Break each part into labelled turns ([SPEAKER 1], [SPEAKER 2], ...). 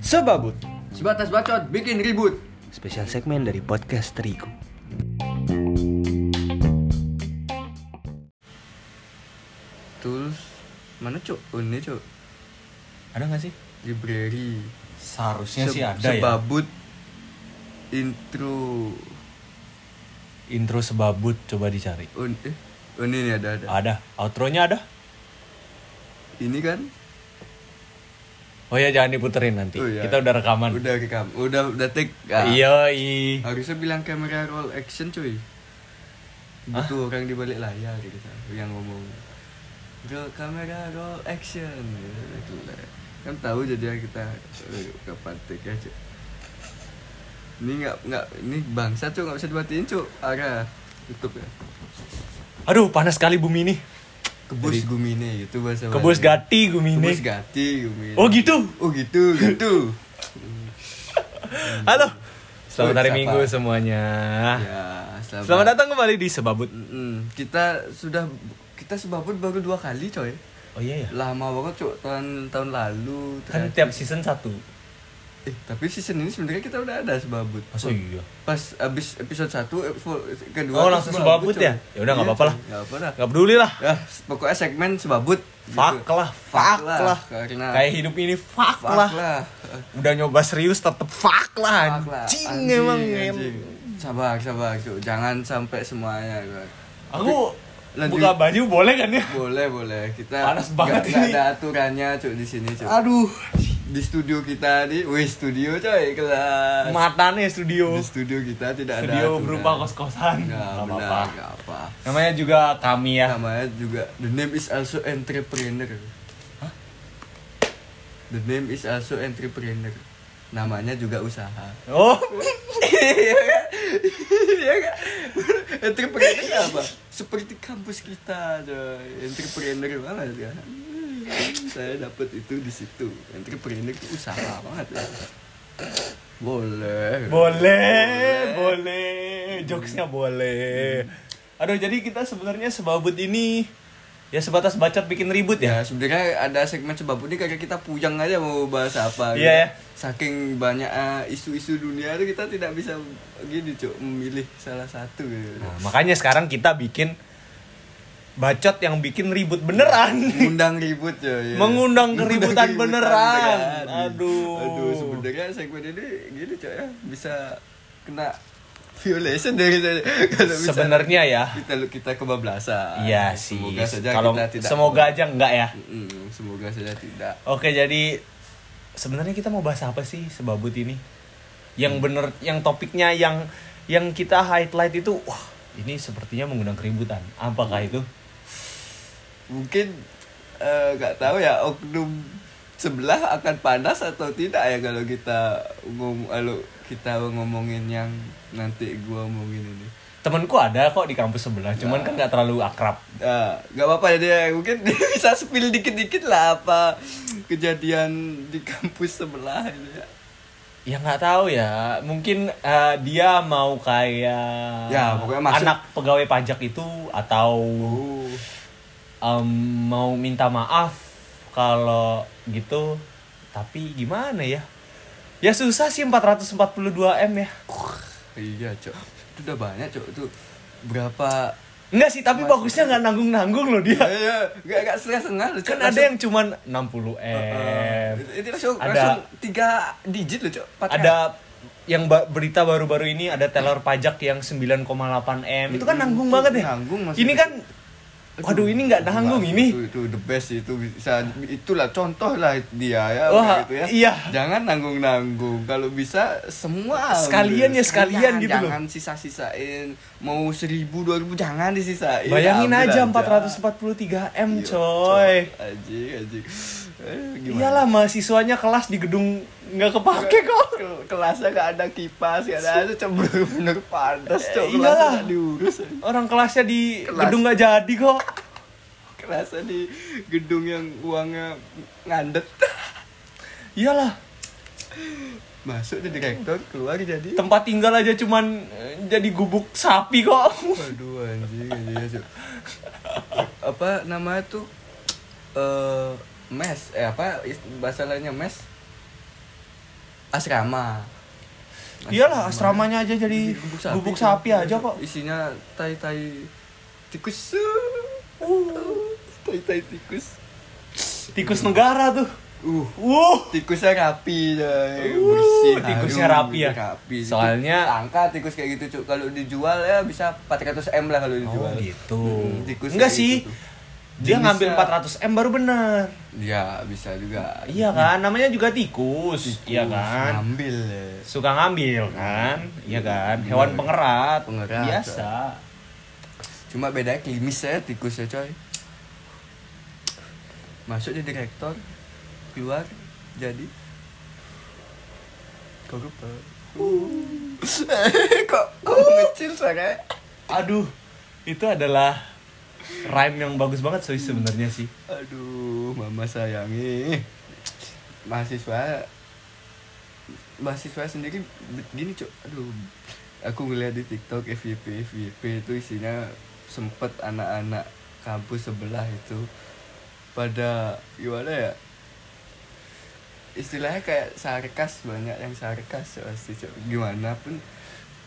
[SPEAKER 1] Sebabut
[SPEAKER 2] Sebatas bacot bikin ribut.
[SPEAKER 1] Spesial segmen dari podcast Terigu
[SPEAKER 2] Tools mana cuk? Oh, Ini cuk.
[SPEAKER 3] Ada nggak sih?
[SPEAKER 2] Library.
[SPEAKER 3] Seharusnya
[SPEAKER 2] Se-
[SPEAKER 3] sih ada ya.
[SPEAKER 2] sebabut intro.
[SPEAKER 3] Intro sebabut coba dicari.
[SPEAKER 2] Oh, eh. Oh, ini nih ada ada.
[SPEAKER 3] Ada. Outro-nya ada?
[SPEAKER 2] Ini kan?
[SPEAKER 3] Oh ya jangan diputerin nanti.
[SPEAKER 2] Oh, iya.
[SPEAKER 3] Kita udah rekaman.
[SPEAKER 2] Udah rekam. Udah udah take. Ah,
[SPEAKER 3] Iya.
[SPEAKER 2] Harusnya bilang kamera roll action cuy.
[SPEAKER 3] Ah.
[SPEAKER 2] Butuh orang di balik Gitu, kan layar gitu yang ngomong. Roll kamera roll action. Gitu, gitu lah. Kan tahu jadi kita eh, kapan take aja. Ini nggak nggak ini bangsa cuy nggak bisa dimatiin cuy. Ara tutup ya.
[SPEAKER 3] Aduh panas sekali bumi ini.
[SPEAKER 2] Kebus gumine gitu bahasa
[SPEAKER 3] Kebus
[SPEAKER 2] Bali.
[SPEAKER 3] gati bumi ini.
[SPEAKER 2] Kebus gati gumine.
[SPEAKER 3] Oh gitu.
[SPEAKER 2] Oh gitu gitu.
[SPEAKER 3] Halo. Selamat hari
[SPEAKER 2] Siapa?
[SPEAKER 3] Minggu semuanya.
[SPEAKER 2] ya, selamat.
[SPEAKER 3] Ah. Selamat datang kembali di sebabut.
[SPEAKER 2] Mm, kita sudah kita sebabut baru dua kali coy
[SPEAKER 3] Oh iya ya.
[SPEAKER 2] lama banget cuy tahun tahun lalu
[SPEAKER 3] Kan
[SPEAKER 2] terakhir.
[SPEAKER 3] tiap season satu.
[SPEAKER 2] eh, tapi season ini sebenarnya kita udah ada sebabut
[SPEAKER 3] Masa iya?
[SPEAKER 2] pas abis episode satu episode kedua
[SPEAKER 3] Oh,
[SPEAKER 2] tuh
[SPEAKER 3] langsung sebabut
[SPEAKER 2] coy.
[SPEAKER 3] ya? Ya udah, nggak
[SPEAKER 2] Iya,
[SPEAKER 3] apa-apa
[SPEAKER 2] coy.
[SPEAKER 3] lah.
[SPEAKER 2] nggak apa lah
[SPEAKER 3] Gak peduli lah.
[SPEAKER 2] ya pokoknya segmen sebabut
[SPEAKER 3] Fuck
[SPEAKER 2] gitu.
[SPEAKER 3] lah,
[SPEAKER 2] Fuck
[SPEAKER 3] fuck lah.
[SPEAKER 2] karena
[SPEAKER 3] Kayak hidup ini fuck,
[SPEAKER 2] fuck
[SPEAKER 3] lah.
[SPEAKER 2] lah
[SPEAKER 3] Udah nyoba serius tetep fuck lah.
[SPEAKER 2] fuck lah.
[SPEAKER 3] Anjing emang. ya.
[SPEAKER 2] anjing. sabar sabar cuy jangan sampai semuanya cuy.
[SPEAKER 3] Aku
[SPEAKER 2] Lanjut.
[SPEAKER 3] buka baju boleh kan ya?
[SPEAKER 2] boleh boleh kita
[SPEAKER 3] Panas banget
[SPEAKER 2] nggak- nggak
[SPEAKER 3] ini.
[SPEAKER 2] ada aturannya cuk di sini cuk
[SPEAKER 3] Aduh,
[SPEAKER 2] di studio kita di wih studio coy kelas
[SPEAKER 3] matanya studio.
[SPEAKER 2] di studio kita tidak ada
[SPEAKER 3] Studio
[SPEAKER 2] aturan.
[SPEAKER 3] berupa kos-kosan.
[SPEAKER 2] ya,
[SPEAKER 3] Nggak
[SPEAKER 2] benar
[SPEAKER 3] apa-apa.
[SPEAKER 2] nggak apa
[SPEAKER 3] Namanya juga kami ya.
[SPEAKER 2] namanya juga the name is also entrepreneur the name is also entrepreneur namanya juga usaha
[SPEAKER 3] Oh,
[SPEAKER 2] Ya entrepreneur apa seperti kampus kita coy entrepreneur banget ya saya dapat itu di situ entrepreneur itu usaha banget ya boleh
[SPEAKER 3] boleh, boleh. Jokesnya boleh.
[SPEAKER 2] Hmm.
[SPEAKER 3] Aduh, jadi kita sebenarnya sebabut ini ya sebatas bacot bikin ribut ya.
[SPEAKER 2] ya sebenarnya ada segmen sebab ini kayak kita puyang aja mau bahas apa gitu.
[SPEAKER 3] Iya, ya.
[SPEAKER 2] saking banyak eh, isu-isu dunia itu kita tidak bisa gini cuk memilih salah satu gitu.
[SPEAKER 3] Nah, makanya sekarang kita bikin bacot yang bikin ribut beneran.
[SPEAKER 2] mengundang ribut ya, ya.
[SPEAKER 3] Mengundang keributan beneran. Aduh.
[SPEAKER 2] aduh sebenarnya segmen ini gini cok ya bisa kena violation dari tadi kalau misalnya
[SPEAKER 3] Sebenarnya ya.
[SPEAKER 2] kita kita kebablasan
[SPEAKER 3] Iya sih.
[SPEAKER 2] semoga saja
[SPEAKER 3] Kalau
[SPEAKER 2] kita tidak
[SPEAKER 3] semoga aja enggak ya.
[SPEAKER 2] Mm, semoga saja tidak
[SPEAKER 3] Oke, jadi sebenarnya kita mau bahas apa sih sebabut ini? Yang
[SPEAKER 2] Hmm.
[SPEAKER 3] bener, yang topiknya yang yang kita highlight itu, wah ini sepertinya mengundang keributan. Apakah itu?
[SPEAKER 2] mungkin eh, nggak tahu ya oknum sebelah akan panas atau tidak ya kalau kita ngom kalau kita ngomongin yang nanti gua ngomongin ini
[SPEAKER 3] Temanku ada kok di kampus sebelah,
[SPEAKER 2] Ya.
[SPEAKER 3] cuman kan nggak terlalu akrab.
[SPEAKER 2] Ah, nggak apa-apa ya dia mungkin dia bisa spill dikit-dikit lah apa kejadian di kampus sebelah ini ya.
[SPEAKER 3] Ya nggak tahu ya, mungkin eh, dia mau kayak
[SPEAKER 2] Ya, pokoknya masuk-
[SPEAKER 3] anak pegawai pajak itu atau
[SPEAKER 2] Oh,
[SPEAKER 3] em, mau minta maaf kalau gitu tapi gimana ya ya susah sih 442 m ya
[SPEAKER 2] iya cok itu udah banyak cok itu berapa
[SPEAKER 3] enggak sih tapi bagusnya nggak nanggung nanggung loh dia
[SPEAKER 2] Iya, nggak nggak setengah-setengah loh, Cok.
[SPEAKER 3] kan ada
[SPEAKER 2] Langsung-
[SPEAKER 3] yang cuman 60 m
[SPEAKER 2] Eh, itu langsung,
[SPEAKER 3] Ada-
[SPEAKER 2] langsung tiga digit loh cok Empat
[SPEAKER 3] ada yang ba- berita baru-baru ini ada telor pajak yang 9,8 m itu kan nanggung banget ya
[SPEAKER 2] Nanggung, maksudnya.
[SPEAKER 3] ini kan waduh ini nggak nanggung
[SPEAKER 2] Wah,
[SPEAKER 3] ini
[SPEAKER 2] itu, itu the best sih, itu bisa itulah contoh lah dia ya
[SPEAKER 3] Wah,
[SPEAKER 2] gitu ya
[SPEAKER 3] iya.
[SPEAKER 2] jangan nanggung nanggung kalau bisa semua
[SPEAKER 3] Sekalian ya, sekalian gitu loh.
[SPEAKER 2] jangan sisa sisain mau seribu dua ribu jangan disisain
[SPEAKER 3] bayangin
[SPEAKER 2] Iya, Ambil
[SPEAKER 3] aja 443 m
[SPEAKER 2] Iya,
[SPEAKER 3] coy
[SPEAKER 2] aji aji eh,
[SPEAKER 3] Iyalah mahasiswanya kelas di gedung nggak kepake kok.
[SPEAKER 2] Kel- kelasnya gak ada kipas gak ada itu cemburu bener panas cok
[SPEAKER 3] Eh,
[SPEAKER 2] kelasnya
[SPEAKER 3] iyalah.
[SPEAKER 2] gak diurus
[SPEAKER 3] Orang kelasnya di
[SPEAKER 2] Kelas.
[SPEAKER 3] gedung nggak jadi kok.
[SPEAKER 2] kelasnya di gedung yang uangnya ngandet
[SPEAKER 3] Iyalah
[SPEAKER 2] masuk jadi rektor keluar jadi
[SPEAKER 3] tempat tinggal aja cuman eh, jadi gubuk sapi kok.
[SPEAKER 2] Waduh anjing anjing, anjing. Apa namanya tuh eh mes eh apa is- bahasa lainnya mes asrama
[SPEAKER 3] Iyalah asramanya aja jadi gubuk sapi, aja kok.
[SPEAKER 2] isinya tai tai tikus
[SPEAKER 3] Uh.
[SPEAKER 2] tai tai tikus
[SPEAKER 3] Tikus negara tuh.
[SPEAKER 2] uh
[SPEAKER 3] Wuh.
[SPEAKER 2] tikusnya rapi coy.
[SPEAKER 3] Uh,
[SPEAKER 2] bersih
[SPEAKER 3] tikusnya
[SPEAKER 2] harum,
[SPEAKER 3] rapi
[SPEAKER 2] gitu,
[SPEAKER 3] ya?
[SPEAKER 2] rapi.
[SPEAKER 3] Soalnya-
[SPEAKER 2] angka tikus kayak gitu cuk kalau dijual ya bisa 400 m lah kalau dijual
[SPEAKER 3] gitu.
[SPEAKER 2] Hmm, tikus
[SPEAKER 3] Enggak
[SPEAKER 2] kayak
[SPEAKER 3] sih.
[SPEAKER 2] gitu tuh.
[SPEAKER 3] Dia
[SPEAKER 2] Jenisnya-
[SPEAKER 3] ngambil 400 m baru bener.
[SPEAKER 2] ya bisa juga
[SPEAKER 3] Iya kan, namanya juga tikus,
[SPEAKER 2] Tikus,
[SPEAKER 3] iya kan.
[SPEAKER 2] ngambil ya.
[SPEAKER 3] Suka ngambil kan, iya kan. Hewan
[SPEAKER 2] Iya.
[SPEAKER 3] pengerat,
[SPEAKER 2] Pengerat,
[SPEAKER 3] biasa.
[SPEAKER 2] cuma bedanya klimis saya tikus ya coy masuk jadi direktor keluar jadi koruptor
[SPEAKER 3] Uh.
[SPEAKER 2] kok kok ngecil suaranya
[SPEAKER 3] Aduh, itu adalah rhyme yang bagus banget sih sebenarnya sih.
[SPEAKER 2] Aduh, mama sayangi. Mahasiswa mahasiswa sendiri gini, Cuk. Aduh. Aku ngeliat di TikTok FYP FYP itu isinya sempet anak-anak kampus sebelah itu pada gimana ya? Istilahnya kayak sarkas banyak yang sarkas Cuk, pasti Cuk. Gimana pun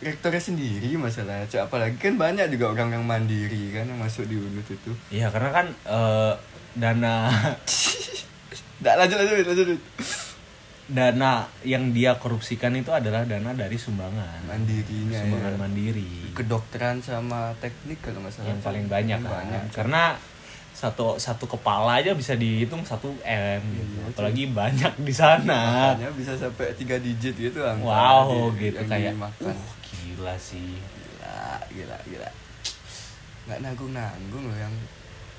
[SPEAKER 2] rektornya sendiri masalahnya Cuk. apalagi kan banyak juga orang yang mandiri kan yang masuk di unut itu
[SPEAKER 3] Iya, karena kan eh, dana
[SPEAKER 2] Nggak, lanjut lanjut lanjut
[SPEAKER 3] dana yang dia korupsikan itu adalah dana dari sumbangan.
[SPEAKER 2] mandirinya
[SPEAKER 3] sumbangan
[SPEAKER 2] ya.
[SPEAKER 3] mandiri.
[SPEAKER 2] kedokteran sama teknik kalau nggak salah
[SPEAKER 3] yang paling banyak
[SPEAKER 2] Yang
[SPEAKER 3] kan.
[SPEAKER 2] banyak
[SPEAKER 3] karena satu satu kepala aja bisa dihitung satu m gitu.
[SPEAKER 2] Iya,
[SPEAKER 3] apalagi banyak di sana
[SPEAKER 2] makanya bisa sampai tiga digit gitu angka
[SPEAKER 3] wow
[SPEAKER 2] di-
[SPEAKER 3] gitu
[SPEAKER 2] yang
[SPEAKER 3] kayak
[SPEAKER 2] dimakan.
[SPEAKER 3] uh, gila sih
[SPEAKER 2] gila gila gila nggak nanggung nanggung loh yang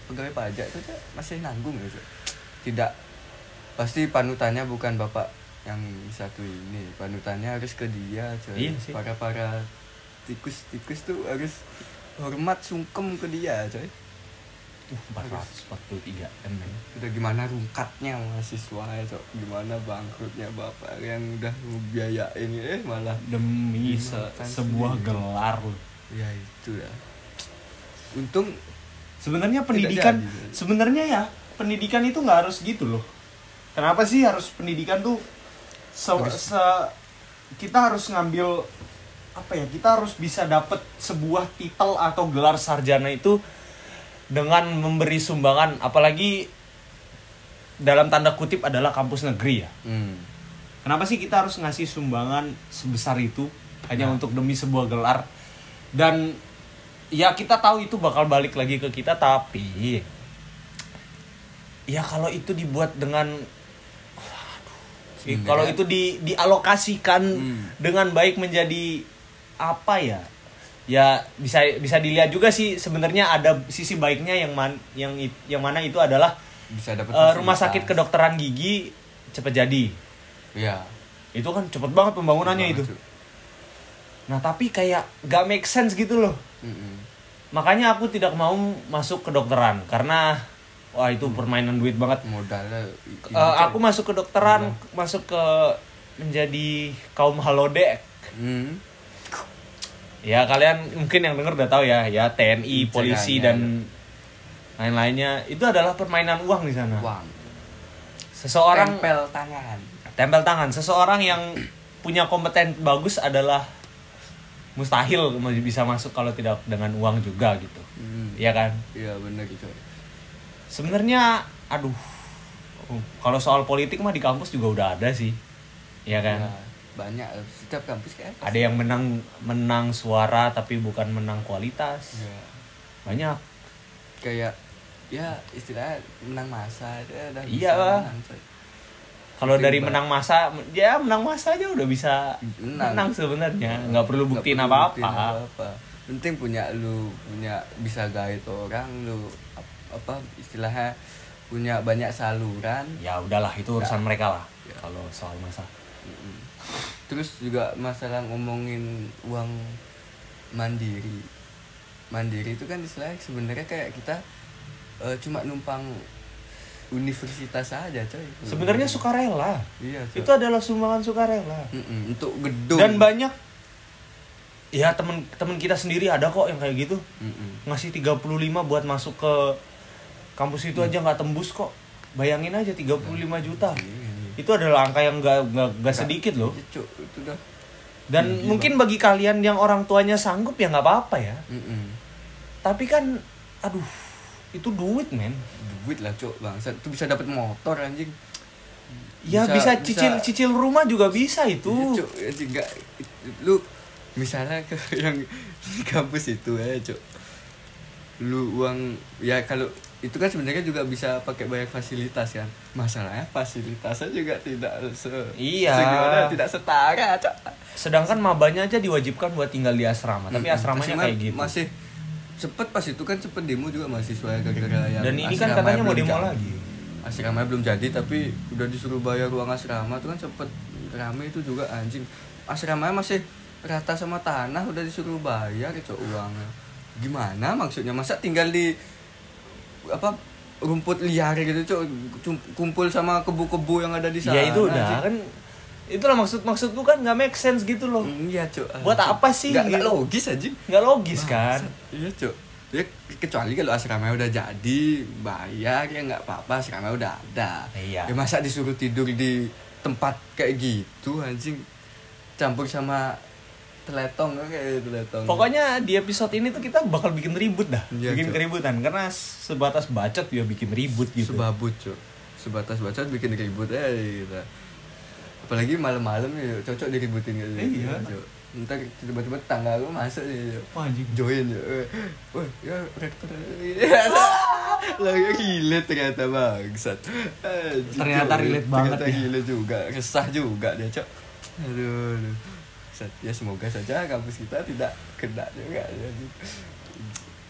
[SPEAKER 2] pegawai pajak tuh Cak. masih nanggung loh Cak. tidak pasti panutannya bukan bapak yang satu ini panutannya harus ke dia coy
[SPEAKER 3] Iya sih.
[SPEAKER 2] para para tikus tikus tuh harus hormat sungkem ke dia coy
[SPEAKER 3] uh, 443 m ya. men.
[SPEAKER 2] udah gimana rungkatnya mahasiswa itu gimana bangkrutnya bapak yang udah ngebiayain eh malah Iya,
[SPEAKER 3] demi se-
[SPEAKER 2] Dimakan
[SPEAKER 3] sebuah
[SPEAKER 2] sendiri.
[SPEAKER 3] gelar loh.
[SPEAKER 2] ya itu ya untung
[SPEAKER 3] sebenarnya
[SPEAKER 2] Tidak
[SPEAKER 3] pendidikan
[SPEAKER 2] jadi.
[SPEAKER 3] sebenarnya ya pendidikan itu nggak harus gitu loh kenapa sih harus pendidikan tuh se,
[SPEAKER 2] Harus.
[SPEAKER 3] se- kita harus ngambil apa ya kita harus bisa dapet sebuah titel atau gelar sarjana itu dengan memberi sumbangan apalagi dalam tanda kutip adalah kampus negeri ya
[SPEAKER 2] hmm,
[SPEAKER 3] Kenapa sih kita harus ngasih sumbangan sebesar itu hanya
[SPEAKER 2] Nah.
[SPEAKER 3] untuk demi sebuah gelar? Dan ya kita tahu itu bakal balik lagi ke kita tapi ya kalau itu dibuat dengan Aduh,
[SPEAKER 2] Sebenarnya-
[SPEAKER 3] kalau itu di dialokasikan
[SPEAKER 2] Hmm.
[SPEAKER 3] dengan baik menjadi apa ya? Ya bisa bisa dilihat juga sih sebenarnya ada sisi baiknya yang man, yang it- yang mana itu adalah
[SPEAKER 2] bisa dapat
[SPEAKER 3] eh, rumah
[SPEAKER 2] fasilitas.
[SPEAKER 3] sakit kedokteran gigi cepat jadi
[SPEAKER 2] ya
[SPEAKER 3] itu kan cepet banget pembangunannya itu
[SPEAKER 2] Cuk.
[SPEAKER 3] nah tapi kayak gak make sense gitu loh
[SPEAKER 2] Mm-mm.
[SPEAKER 3] makanya aku tidak mau masuk kedokteran karena wah itu permainan duit banget
[SPEAKER 2] modalnya i- ini,
[SPEAKER 3] Eh, aku
[SPEAKER 2] coy.
[SPEAKER 3] masuk kedokteran masuk ke menjadi kaum halodek
[SPEAKER 2] hmm,
[SPEAKER 3] ya kalian mungkin yang denger udah tahu ya ya TNI polisi
[SPEAKER 2] Ceritanya.
[SPEAKER 3] dan iya. lain-lainnya itu adalah permainan uang di sana
[SPEAKER 2] uang
[SPEAKER 3] seseorang
[SPEAKER 2] tempel tangan
[SPEAKER 3] Tempel tangan. Seseorang yang punya kompeten bagus adalah mustahil bisa masuk kalau tidak dengan uang juga gitu.
[SPEAKER 2] Hmm.
[SPEAKER 3] Iya kan?
[SPEAKER 2] iya bener gitu
[SPEAKER 3] Ya. Sebenarnya aduh. oh, Kalau soal politik mah di kampus juga udah ada sih. Iya kan?
[SPEAKER 2] Ya, banyak setiap kampus kayak
[SPEAKER 3] Ada yang menang menang suara tapi bukan menang kualitas.
[SPEAKER 2] Ya.
[SPEAKER 3] Banyak.
[SPEAKER 2] kayak ya istilahnya menang masa dia udah
[SPEAKER 3] Iya
[SPEAKER 2] bisa
[SPEAKER 3] lah.
[SPEAKER 2] menang, coy.
[SPEAKER 3] Kalau
[SPEAKER 2] Penting
[SPEAKER 3] dari
[SPEAKER 2] banget.
[SPEAKER 3] menang masa, ya menang masa aja udah bisa
[SPEAKER 2] Menang.
[SPEAKER 3] menang sebenarnya. Nggak perlu buktiin
[SPEAKER 2] Nggak perlu buktiin
[SPEAKER 3] apa-apa.
[SPEAKER 2] apa-apa. penting punya lu punya bisa guide orang lu ap- apa istilahnya punya banyak saluran
[SPEAKER 3] ya udahlah itu urusan mereka lah
[SPEAKER 2] Ya.
[SPEAKER 3] kalau soal masa
[SPEAKER 2] Mm-mm. terus juga masalah ngomongin uang mandiri mandiri itu kan istilahnya sebenarnya kayak kita eh, cuma numpang universitas aja coy
[SPEAKER 3] sebenarnya sukarela
[SPEAKER 2] iya coy.
[SPEAKER 3] itu adalah sumbangan sukarela
[SPEAKER 2] Mm-mm, untuk gedung
[SPEAKER 3] dan banyak ya temen temen kita sendiri ada kok yang kayak gitu
[SPEAKER 2] Mm-mm.
[SPEAKER 3] ngasih 35 buat masuk ke kampus itu aja nggak tembus kok Bayangin aja 35 juta.
[SPEAKER 2] Iya, iya.
[SPEAKER 3] Itu adalah angka yang gak, gak, gak sedikit loh.
[SPEAKER 2] Iya, Cuk, itu dah.
[SPEAKER 3] Dan
[SPEAKER 2] Tinggi
[SPEAKER 3] mungkin bagi kalian yang orang tuanya sanggup ya nggak apa-apa ya.
[SPEAKER 2] Mm-mm.
[SPEAKER 3] Tapi kan, aduh, itu duit men.
[SPEAKER 2] Duit lah, Cuk, bangsat. Itu bisa dapat motor anjing.
[SPEAKER 3] Ya
[SPEAKER 2] Iya,
[SPEAKER 3] bisa, cicil cicil rumah juga bisa itu.
[SPEAKER 2] Iya, Cuk, anjing enggak lu misalnya ke yang di kampus itu ya, Cuk. Lu uang ya kalau itu kan sebenarnya juga bisa pakai banyak fasilitas kan. Masalahnya fasilitasnya juga tidak se
[SPEAKER 3] Iya.
[SPEAKER 2] segimana, tidak setara, Cuk.
[SPEAKER 3] Sedangkan mabanya aja diwajibkan buat tinggal di asrama, tapi
[SPEAKER 2] Mm-mm.
[SPEAKER 3] asramanya
[SPEAKER 2] Cuman
[SPEAKER 3] kayak gitu.
[SPEAKER 2] Masih cepet pas itu kan cepet demo juga mahasiswa ya, gara-gara yang
[SPEAKER 3] Dan ini kan
[SPEAKER 2] asramanya
[SPEAKER 3] katanya mau
[SPEAKER 2] belum
[SPEAKER 3] demo
[SPEAKER 2] jadi.
[SPEAKER 3] lagi.
[SPEAKER 2] asramanya belum jadi tapi udah disuruh bayar ruang asrama tuh kan sempet rame itu juga anjing asramanya masih rata sama tanah udah disuruh bayar cok uangnya gimana maksudnya masa tinggal di apa rumput liar gitu cok cum- kumpul sama kebu-kebu yang ada di sana
[SPEAKER 3] Ya itu udah
[SPEAKER 2] anjing.
[SPEAKER 3] kan itulah maksud maksudku kan nggak make sense gitu loh.
[SPEAKER 2] Mm, iya cok
[SPEAKER 3] Buat
[SPEAKER 2] anjing.
[SPEAKER 3] apa sih
[SPEAKER 2] nggak, nggak
[SPEAKER 3] gitu?
[SPEAKER 2] logis anjing
[SPEAKER 3] Nggak logis kan?
[SPEAKER 2] Iya cuk. Ya, ke- kecuali kalau asramanya udah jadi bayar ya nggak apa-apa asrama udah ada.
[SPEAKER 3] Iya.
[SPEAKER 2] Ya masa disuruh tidur di tempat kayak gitu anjing campur sama teletong kan kayak teletong.
[SPEAKER 3] Pokoknya di episode ini tuh kita bakal bikin ribut dah,
[SPEAKER 2] Iya,
[SPEAKER 3] bikin
[SPEAKER 2] Cuk.
[SPEAKER 3] keributan karena sebatas bacot ya bikin ribut gitu.
[SPEAKER 2] sebabut cuk. Sebatas bacot bikin ribut aja gitu. Apalagi malam-malam ya cocok diributin gitu.
[SPEAKER 3] Iya.
[SPEAKER 2] Cuk. Ntar tiba-tiba tangga lu masuk ya. Cuk.
[SPEAKER 3] Wah, anjing.
[SPEAKER 2] join ya. Eh, Wah, ya rektor. Lagi relate ternyata bangsat. Anjing,
[SPEAKER 3] Ternyata
[SPEAKER 2] Cok.
[SPEAKER 3] relate banget
[SPEAKER 2] Ternyata
[SPEAKER 3] ya.
[SPEAKER 2] relate juga, kesah juga dia, Cok. Aduh. aduh. Bangsat. Ya semoga saja kampus kita tidak kena juga. Jadi,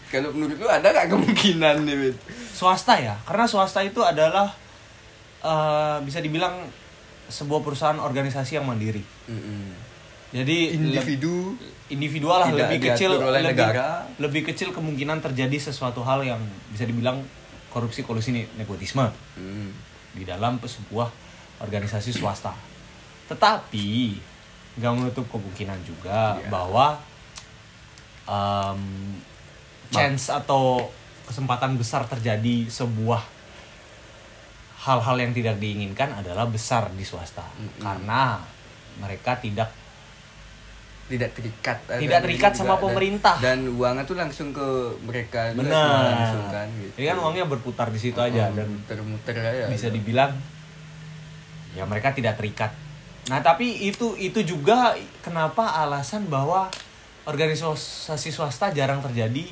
[SPEAKER 2] Kalau menurut lu ada gak kemungkinan nih, Wit?
[SPEAKER 3] Swasta ya, karena swasta itu adalah eh, bisa dibilang sebuah perusahaan organisasi yang mandiri. Jadi
[SPEAKER 2] Individu
[SPEAKER 3] individual lah
[SPEAKER 2] Tidak
[SPEAKER 3] lebih
[SPEAKER 2] diatur
[SPEAKER 3] kecil
[SPEAKER 2] oleh
[SPEAKER 3] lebih,
[SPEAKER 2] negara.
[SPEAKER 3] lebih kecil kemungkinan terjadi sesuatu hal yang bisa dibilang korupsi kolusi ne- nepotisme
[SPEAKER 2] Mm.
[SPEAKER 3] di dalam sebuah organisasi swasta. Tetapi nggak menutup kemungkinan juga
[SPEAKER 2] Iya.
[SPEAKER 3] bahwa em, chance atau kesempatan besar terjadi sebuah hal-hal yang tidak diinginkan adalah besar di swasta
[SPEAKER 2] Mm-mm.
[SPEAKER 3] karena mereka tidak
[SPEAKER 2] tidak terikat
[SPEAKER 3] Tidak terikat
[SPEAKER 2] juga,
[SPEAKER 3] sama
[SPEAKER 2] dan-
[SPEAKER 3] pemerintah.
[SPEAKER 2] dan, uangnya tuh langsung ke mereka juga semua
[SPEAKER 3] benar
[SPEAKER 2] langsung kan gitu. Iya,
[SPEAKER 3] ini kan uangnya berputar di situ aja dan
[SPEAKER 2] Oh, muter-muter aja
[SPEAKER 3] bisa dibilang ya mereka tidak terikat nah tapi itu itu juga kenapa alasan bahwa organisasi swasta jarang terjadi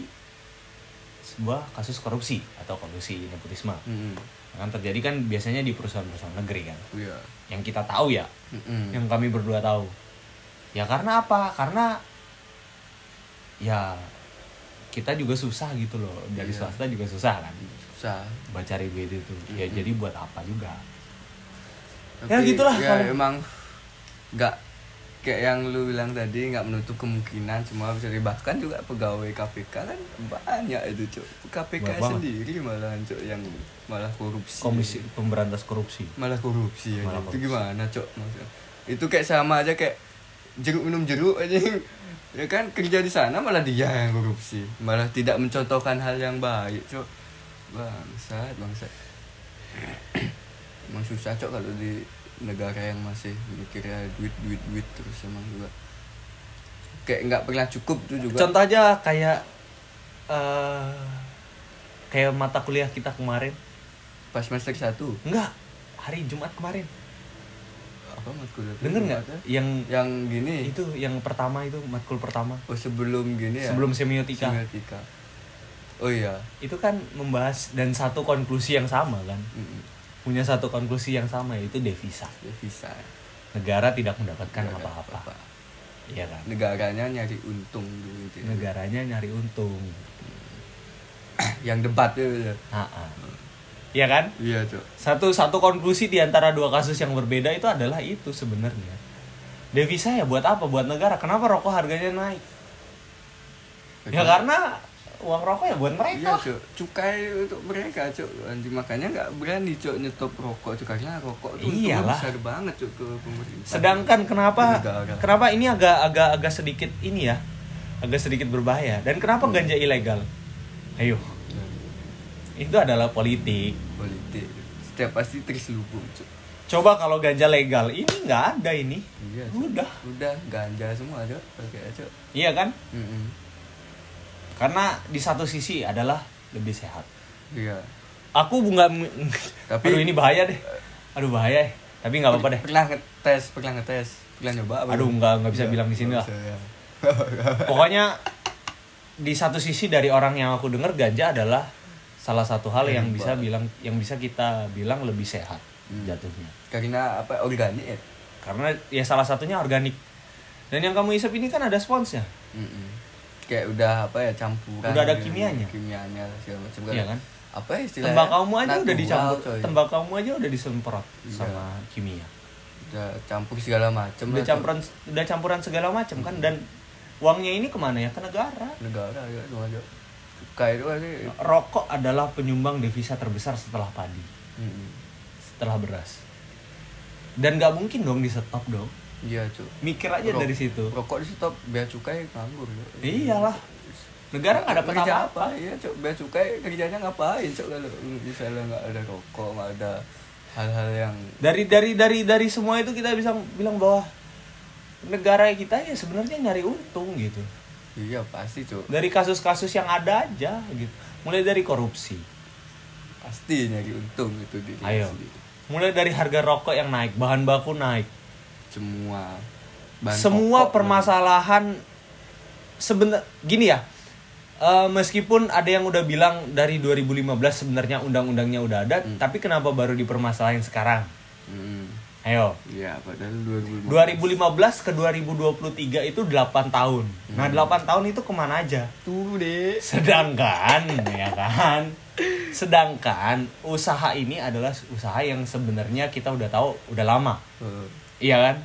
[SPEAKER 3] sebuah kasus korupsi atau korupsi nepotisme
[SPEAKER 2] Mm-mm.
[SPEAKER 3] kan terjadi kan biasanya di perusahaan-perusahaan negeri kan
[SPEAKER 2] Iya. Hmm,
[SPEAKER 3] yang kita tahu ya
[SPEAKER 2] Mm-mm.
[SPEAKER 3] yang kami berdua tahu ya karena apa karena ya kita juga susah gitu loh dari
[SPEAKER 2] Iya.
[SPEAKER 3] swasta juga susah kan
[SPEAKER 2] susah
[SPEAKER 3] buat cari duit itu ya
[SPEAKER 2] Mhm.
[SPEAKER 3] jadi buat apa juga
[SPEAKER 2] Tapi
[SPEAKER 3] Ya, gitulah
[SPEAKER 2] ya
[SPEAKER 3] kalau-
[SPEAKER 2] emang nggak kayak yang lu bilang tadi nggak menutup kemungkinan semua bisa di- bahkan juga pegawai KPK kan banyak itu cuk KPK
[SPEAKER 3] Banyak banget.
[SPEAKER 2] sendiri malahan cuk yang malah korupsi
[SPEAKER 3] komisi pemberantas korupsi
[SPEAKER 2] malah korupsi ya
[SPEAKER 3] Malah
[SPEAKER 2] itu
[SPEAKER 3] korupsi.
[SPEAKER 2] gimana cok maksudnya itu kayak sama aja kayak jeruk minum jeruk aja ya kan kerja di sana malah dia yang korupsi malah tidak mencontohkan hal yang baik cok bangsat bangsat emang susah cok kalau di negara yang masih mikirnya duit duit duit terus emang juga kayak nggak pernah cukup tuh juga
[SPEAKER 3] contoh aja kayak eh kayak mata kuliah kita kemarin
[SPEAKER 2] pas semester satu
[SPEAKER 3] enggak hari Jumat kemarin
[SPEAKER 2] apa matkul itu?
[SPEAKER 3] denger nggak
[SPEAKER 2] Apa?
[SPEAKER 3] yang
[SPEAKER 2] yang gini
[SPEAKER 3] itu yang pertama itu matkul pertama
[SPEAKER 2] oh sebelum gini ya
[SPEAKER 3] sebelum semiotika
[SPEAKER 2] Semiotika. Oh iya.
[SPEAKER 3] itu kan membahas dan satu konklusi yang sama kan
[SPEAKER 2] Mm-mm.
[SPEAKER 3] punya satu konklusi yang sama yaitu devisa
[SPEAKER 2] Devisa.
[SPEAKER 3] negara tidak mendapatkan
[SPEAKER 2] Negara
[SPEAKER 3] Kan apa-apa iya kan
[SPEAKER 2] Negaranya nyari untung dulu gitu. ya.
[SPEAKER 3] negaranya nyari untung
[SPEAKER 2] Yang debat ya. ya.
[SPEAKER 3] Ha-ha. Nah, iya kan
[SPEAKER 2] Iya, Cok.
[SPEAKER 3] satu satu konklusi di antara dua kasus yang berbeda itu adalah itu sebenarnya devisa ya buat apa buat negara kenapa rokok harganya naik ya karena uang rokok ya buat
[SPEAKER 2] Iya,
[SPEAKER 3] mereka
[SPEAKER 2] Cok. Cukai untuk mereka, Cok. Nanti makanya nggak berani, Cok, nyetop rokok. Cok. Karena rokok itu untungnya
[SPEAKER 3] Iyalah.
[SPEAKER 2] besar banget, Cok, ke pemerintah.
[SPEAKER 3] sedangkan kenapa
[SPEAKER 2] Negara.
[SPEAKER 3] kenapa ini agak agak agak sedikit ini ya agak sedikit berbahaya dan kenapa ganja ilegal ayo itu adalah politik
[SPEAKER 2] politik setiap pasti tris lubung cuy
[SPEAKER 3] Coba kalau ganja legal, ini nggak ada ini.
[SPEAKER 2] Iya, Cok.
[SPEAKER 3] Udah.
[SPEAKER 2] udah ganja semua ada pakai aja
[SPEAKER 3] Iya kan?
[SPEAKER 2] Mm-mm.
[SPEAKER 3] Karena di satu sisi adalah lebih sehat.
[SPEAKER 2] iya
[SPEAKER 3] Aku nggak
[SPEAKER 2] Tapi-
[SPEAKER 3] Tapi Aduh ini bahaya deh. Aduh bahaya. ya. Tapi nggak apa-apa deh.
[SPEAKER 2] pernah ngetes pernah ngetes pernah nyoba apa
[SPEAKER 3] Aduh
[SPEAKER 2] belum?
[SPEAKER 3] nggak nggak bisa
[SPEAKER 2] Iya,
[SPEAKER 3] bilang di sini
[SPEAKER 2] nggak
[SPEAKER 3] lah.
[SPEAKER 2] bisa, ya.
[SPEAKER 3] Pokoknya di satu sisi dari orang yang aku dengar ganja adalah salah satu hal yang
[SPEAKER 2] Herbal.
[SPEAKER 3] bisa bilang yang bisa kita bilang lebih sehat
[SPEAKER 2] Hmm.
[SPEAKER 3] jatuhnya.
[SPEAKER 2] karena apa organik ya
[SPEAKER 3] Karena ya salah satunya organik. Dan yang kamu isap ini kan ada sponsnya.
[SPEAKER 2] Mm-mm. kayak udah apa ya campuran
[SPEAKER 3] Udah ada
[SPEAKER 2] gitu,
[SPEAKER 3] kimianya.
[SPEAKER 2] kimianya segala macam
[SPEAKER 3] Iya kan?
[SPEAKER 2] apa ya istilahnya
[SPEAKER 3] Tembakaumu aja udah
[SPEAKER 2] Natural,
[SPEAKER 3] dicampur,
[SPEAKER 2] coy.
[SPEAKER 3] tembakaumu aja udah disemprot sama kimia.
[SPEAKER 2] udah campur segala macam
[SPEAKER 3] Udah
[SPEAKER 2] lah,
[SPEAKER 3] campuran udah campuran segala macam kan dan uangnya ini kemana ya? Ke negara.
[SPEAKER 2] Cok. negara ya cuma aja kayak itu aja
[SPEAKER 3] Rokok adalah penyumbang devisa terbesar setelah padi,
[SPEAKER 2] Mm-mm.
[SPEAKER 3] setelah beras. Dan nggak mungkin dong di stop dong.
[SPEAKER 2] iya cuy
[SPEAKER 3] Mikir aja
[SPEAKER 2] Rok-
[SPEAKER 3] dari situ. Iya,
[SPEAKER 2] rokok di stop bea cukai nganggur ya.
[SPEAKER 3] Iyalah. Negara nggak dapat
[SPEAKER 2] Kerja
[SPEAKER 3] apa-apa.
[SPEAKER 2] iya cok bea cukai kerjanya ngapain cok kalau misalnya nggak ada rokok nggak ada hal-hal yang
[SPEAKER 3] Dari dari dari dari semua itu kita bisa bilang bahwa negara kita ya sebenarnya nyari untung gitu.
[SPEAKER 2] iya pasti cok
[SPEAKER 3] Dari kasus-kasus yang ada aja gitu. Mulai dari korupsi.
[SPEAKER 2] pasti nyari untung itu diri
[SPEAKER 3] Ayo.
[SPEAKER 2] sendiri.
[SPEAKER 3] Mulai dari harga rokok yang naik, bahan baku naik.
[SPEAKER 2] semua bahan
[SPEAKER 3] semua
[SPEAKER 2] pokok,
[SPEAKER 3] permasalahan sebenar gini ya eh, meskipun ada yang udah bilang dari 2015 sebenarnya undang-undangnya udah ada tapi kenapa baru dipermasalahin sekarang
[SPEAKER 2] Mm,
[SPEAKER 3] ayo
[SPEAKER 2] Iya, padahal 2015.
[SPEAKER 3] 2015 ke 2023 itu 8 tahun nah 8 tahun itu kemana aja
[SPEAKER 2] Tuh deh.
[SPEAKER 3] sedangkan ya kan sedangkan usaha ini adalah usaha yang sebenarnya kita udah tahu udah lama
[SPEAKER 2] Eh,
[SPEAKER 3] Iya kan?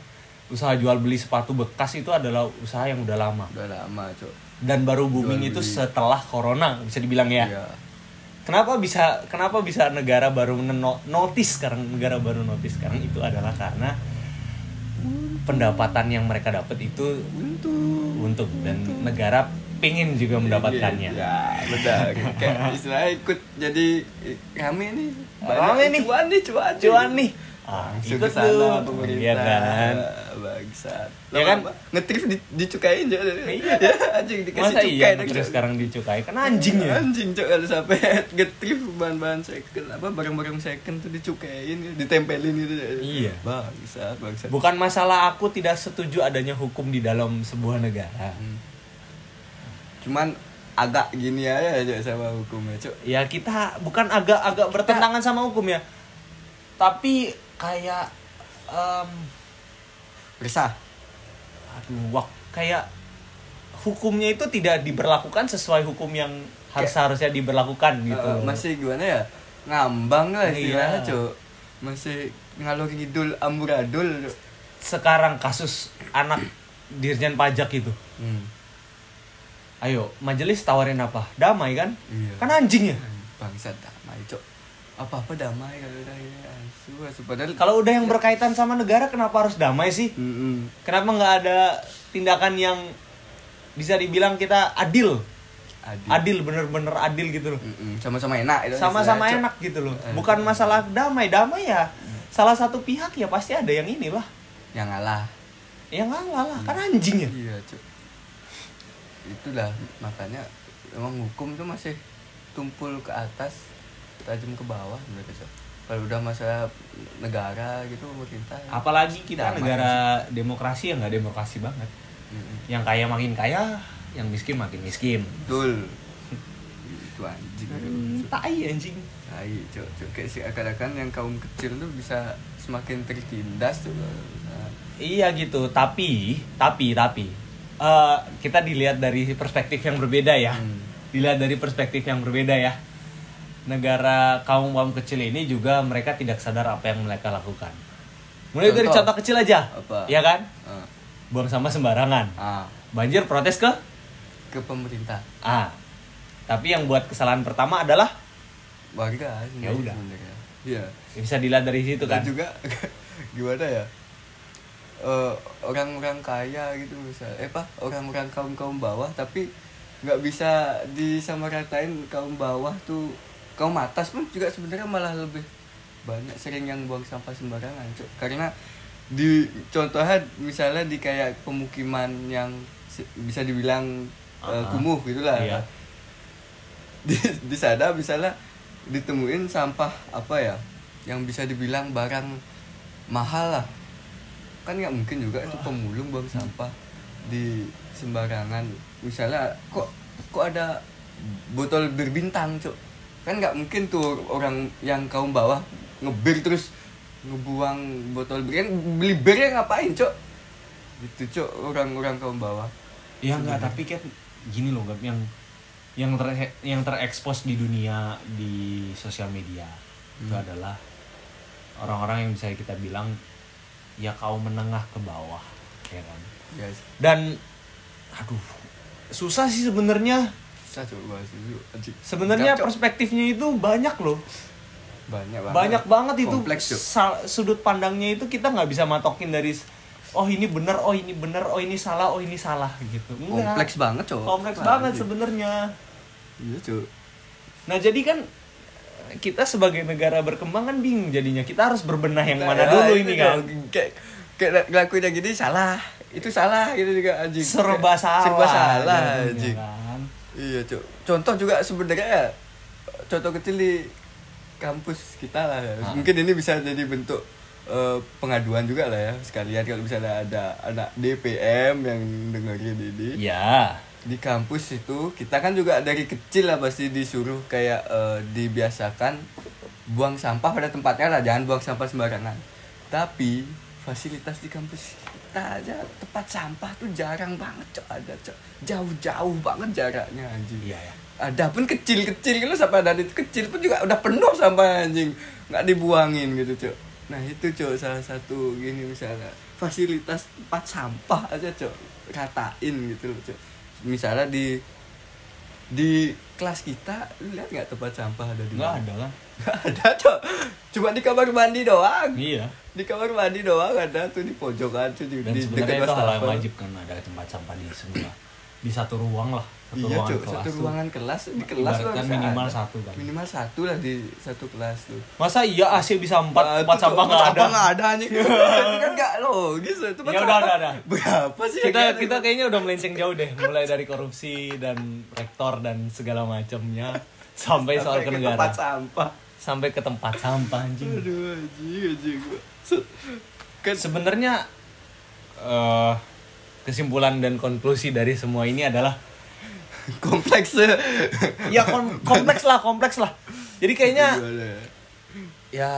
[SPEAKER 3] Usaha jual beli sepatu bekas itu adalah usaha yang udah lama
[SPEAKER 2] udah lama, Cok.
[SPEAKER 3] dan baru booming itu setelah corona bisa dibilang ya.
[SPEAKER 2] Iya.
[SPEAKER 3] Kenapa bisa kenapa bisa negara baru meno- notice sekarang negara baru notice sekarang itu adalah karena pendapatan yang mereka dapat itu
[SPEAKER 2] Untuk
[SPEAKER 3] untung dan negara pengen juga mendapatkannya.
[SPEAKER 2] Ya, benar. Kayak istilahnya ikut jadi eh, rame nih.
[SPEAKER 3] Rame nih.
[SPEAKER 2] Cuan nih, cuan.
[SPEAKER 3] Cuan nih. Ah,
[SPEAKER 2] Langsung
[SPEAKER 3] ikut
[SPEAKER 2] ke
[SPEAKER 3] lu.
[SPEAKER 2] sana pemerintah.
[SPEAKER 3] Iya kan?
[SPEAKER 2] Bangsat.
[SPEAKER 3] Iya kan?
[SPEAKER 2] Lama-lama Ngetrif di, dicukain, Cok.
[SPEAKER 3] Iya.
[SPEAKER 2] Ya, anjing dikasih
[SPEAKER 3] Masa
[SPEAKER 2] cukai.
[SPEAKER 3] iya terus sekarang dicukai kan anjing ya.
[SPEAKER 2] Anjing cok kalau sampai ngetrif bahan-bahan second apa barang-barang second tuh dicukain, ditempelin gitu.
[SPEAKER 3] Iya.
[SPEAKER 2] Bangsa, bangsa.
[SPEAKER 3] Bukan masalah aku tidak setuju adanya hukum di dalam sebuah negara.
[SPEAKER 2] Hmm. Cuman agak gini aja aja sama hukumnya cok.
[SPEAKER 3] Ya kita bukan agak-agak bertentangan sama hukum ya. Tapi kayak em,
[SPEAKER 2] Resah.
[SPEAKER 3] aduh wak kayak hukumnya itu tidak diberlakukan sesuai hukum yang harus harusnya diberlakukan gitu.
[SPEAKER 2] Eh,
[SPEAKER 3] loh.
[SPEAKER 2] masih gimana ya? Ngambang lah
[SPEAKER 3] Iya.
[SPEAKER 2] istilahnya cok. Masih ngalor ngidul amburadul. Cok.
[SPEAKER 3] Sekarang kasus anak dirjen pajak itu.
[SPEAKER 2] Hmm.
[SPEAKER 3] Ayo, majelis tawarin apa? Damai kan?
[SPEAKER 2] Iya.
[SPEAKER 3] Kan anjing ya.
[SPEAKER 2] Bangsat damai cok. Apa-apa damai kalau udah ya. Asu, asu. Padahal
[SPEAKER 3] Kalau udah yang berkaitan sama negara kenapa harus damai sih?
[SPEAKER 2] Mm-mm.
[SPEAKER 3] Kenapa nggak ada tindakan yang bisa dibilang kita adil?
[SPEAKER 2] Adil.
[SPEAKER 3] Adil, bener-bener adil gitu loh.
[SPEAKER 2] Mm-mm. sama-sama
[SPEAKER 3] Iya,
[SPEAKER 2] enak itu
[SPEAKER 3] Sama-sama
[SPEAKER 2] istilahnya, Cok. Eh.
[SPEAKER 3] enak gitu loh. Bukan masalah damai, damai ya. Salah satu pihak ya pasti ada yang inilah.
[SPEAKER 2] yang ngalah
[SPEAKER 3] Yang ngalah lah, kan anjing ya.
[SPEAKER 2] Ya iya cuk itulah makanya emang hukum tuh masih tumpul ke atas tajam ke bawah mereka Cok. kalau udah masalah negara gitu pemerintah
[SPEAKER 3] Apalagi kita
[SPEAKER 2] Damai.
[SPEAKER 3] Kan negara demokrasi yang nggak demokrasi banget.
[SPEAKER 2] Mm-mm.
[SPEAKER 3] Yang kaya makin kaya, yang miskin makin miskin.
[SPEAKER 2] betul itu anjing
[SPEAKER 3] Hmm, tai anjing.
[SPEAKER 2] tai cuk cuk kayak si akan-akan yang kaum kecil tuh bisa semakin tertindas Ah, tuh Nah,
[SPEAKER 3] Iya gitu, tapi tapi tapi eh, kita dilihat dari perspektif yang berbeda ya.
[SPEAKER 2] Hmm.
[SPEAKER 3] Dilihat dari perspektif yang berbeda ya. Negara kaum kaum kecil ini juga mereka tidak sadar apa yang mereka lakukan. Mulai dari
[SPEAKER 2] Contoh.
[SPEAKER 3] contoh kecil aja,
[SPEAKER 2] Apa?
[SPEAKER 3] ya kan?
[SPEAKER 2] eh,
[SPEAKER 3] Buang sampah sembarangan.
[SPEAKER 2] ah
[SPEAKER 3] Banjir protes ke
[SPEAKER 2] ke pemerintah
[SPEAKER 3] A. Tapi yang buat kesalahan pertama adalah
[SPEAKER 2] warga ah,
[SPEAKER 3] Ya udah.
[SPEAKER 2] sebenarnya. iya
[SPEAKER 3] ya bisa dilihat dari situ kan.
[SPEAKER 2] Dan juga gimana ya? Eh, orang-orang kaya gitu misal eh apa orang-orang kaum kaum bawah tapi nggak bisa disamaratain kaum bawah tuh kaum atas pun juga sebenarnya malah lebih banyak sering yang buang sampah sembarangan Cuk. karena di contohnya misalnya di kayak pemukiman yang se- bisa dibilang eh,
[SPEAKER 3] Ah, ah.
[SPEAKER 2] kumuh gitulah
[SPEAKER 3] Iya.
[SPEAKER 2] di di sana misalnya ditemuin sampah apa ya yang bisa dibilang barang mahal lah kan nggak mungkin juga itu pemulung buang sampah di sembarangan misalnya kok kok ada botol berbintang cok kan nggak mungkin tuh orang yang kaum bawah ngebir terus ngebuang botol bir kan beli birnya ngapain cok gitu cok orang-orang kaum bawah Iya,
[SPEAKER 3] Ya enggak, tapi kan gini loh Gap, yang yang ter yang terekspos di dunia di sosial media itu
[SPEAKER 2] Hmm.
[SPEAKER 3] adalah orang-orang yang bisa kita bilang ya kaum menengah ke bawah, ya kan?
[SPEAKER 2] guys
[SPEAKER 3] Dan aduh, susah sih sebenarnya.
[SPEAKER 2] susah cok bahas itu Anjing.
[SPEAKER 3] Sebenarnya
[SPEAKER 2] Cok.
[SPEAKER 3] perspektifnya itu banyak loh.
[SPEAKER 2] banyak banget
[SPEAKER 3] banyak banget itu
[SPEAKER 2] kompleks Cok.
[SPEAKER 3] sa- sudut pandangnya itu kita nggak bisa matokin dari s- oh ini bener oh ini bener oh ini salah oh ini salah gitu Enggak.
[SPEAKER 2] kompleks banget cok
[SPEAKER 3] kompleks
[SPEAKER 2] Oh, Wah,
[SPEAKER 3] banget
[SPEAKER 2] anjing.
[SPEAKER 3] sebenarnya
[SPEAKER 2] iya cok
[SPEAKER 3] nah jadi kan kita sebagai negara berkembang kan bingung jadinya kita harus berbenah yang
[SPEAKER 2] Nah,
[SPEAKER 3] mana
[SPEAKER 2] ya,
[SPEAKER 3] dulu
[SPEAKER 2] itu
[SPEAKER 3] ini
[SPEAKER 2] Cok.
[SPEAKER 3] kan
[SPEAKER 2] kayak kayak ngelakuin yang gini salah itu salah gitu juga anjing
[SPEAKER 3] serba
[SPEAKER 2] Kayak-
[SPEAKER 3] salah
[SPEAKER 2] serba salah
[SPEAKER 3] jadinya
[SPEAKER 2] anjing
[SPEAKER 3] kan.
[SPEAKER 2] Iya, Cuk. Contoh juga sebenarnya ya, contoh kecil di kampus kita lah. ya.
[SPEAKER 3] Ah.
[SPEAKER 2] Mungkin ini bisa jadi bentuk eh, pengaduan juga lah ya sekalian kalau misalnya ada anak DPM yang dengerin ini
[SPEAKER 3] ya
[SPEAKER 2] di kampus itu kita kan juga dari kecil lah pasti disuruh kayak eh, dibiasakan buang sampah pada tempatnya lah jangan buang sampah sembarangan tapi fasilitas di kampus kita aja tempat sampah tuh jarang banget cok ada cok jauh-jauh banget jaraknya anjing
[SPEAKER 3] Iya, ya.
[SPEAKER 2] ada pun kecil-kecil kalau sampah dari itu kecil pun juga udah penuh sampah anjing nggak dibuangin gitu cok nah itu cok salah satu gini misalnya fasilitas tempat sampah aja cok ratain gitu loh cok misalnya di di kelas kita lu lihat nggak tempat sampah ada di
[SPEAKER 3] nggak
[SPEAKER 2] mana?
[SPEAKER 3] ada kan
[SPEAKER 2] Nggak ada cok cuma di kamar mandi doang
[SPEAKER 3] iya
[SPEAKER 2] di kamar mandi doang ada tuh di pojokan tuh di,
[SPEAKER 3] dan
[SPEAKER 2] di
[SPEAKER 3] sebenarnya itu hal yang
[SPEAKER 2] wastafel.
[SPEAKER 3] wajib kan ada tempat sampah di semua di satu ruang lah satu
[SPEAKER 2] iya
[SPEAKER 3] ruangan
[SPEAKER 2] cok,
[SPEAKER 3] kelas
[SPEAKER 2] satu
[SPEAKER 3] tuh.
[SPEAKER 2] ruangan kelas di kelas lu
[SPEAKER 3] Ibaratkan
[SPEAKER 2] harus
[SPEAKER 3] minimal
[SPEAKER 2] ada.
[SPEAKER 3] satu kan.
[SPEAKER 2] minimal satu lah di satu kelas tuh
[SPEAKER 3] Masa iya AC bisa
[SPEAKER 2] Nah,
[SPEAKER 3] empat empat sampah nggak ada?
[SPEAKER 2] nggak ada anjing Itu kan nggak logis lah, tempat
[SPEAKER 3] Ya udah,
[SPEAKER 2] sampah.
[SPEAKER 3] udah, udah.
[SPEAKER 2] berapa sih yang
[SPEAKER 3] Kita
[SPEAKER 2] nggak ada?
[SPEAKER 3] kita kayaknya udah melenceng jauh deh, mulai dari korupsi dan rektor dan segala macamnya sampai soal
[SPEAKER 2] Sampai ke
[SPEAKER 3] kenegara,
[SPEAKER 2] tempat sampah
[SPEAKER 3] sampai ke tempat sampah anjing.
[SPEAKER 2] aduh anjing anjing gua. Set. kan
[SPEAKER 3] Sebenarnya eh, kesimpulan dan konklusi dari semua ini adalah
[SPEAKER 2] kompleks ya.
[SPEAKER 3] ya kon- kompleks lah, kompleks lah. Jadi kayaknya
[SPEAKER 2] Gimana ya?
[SPEAKER 3] ya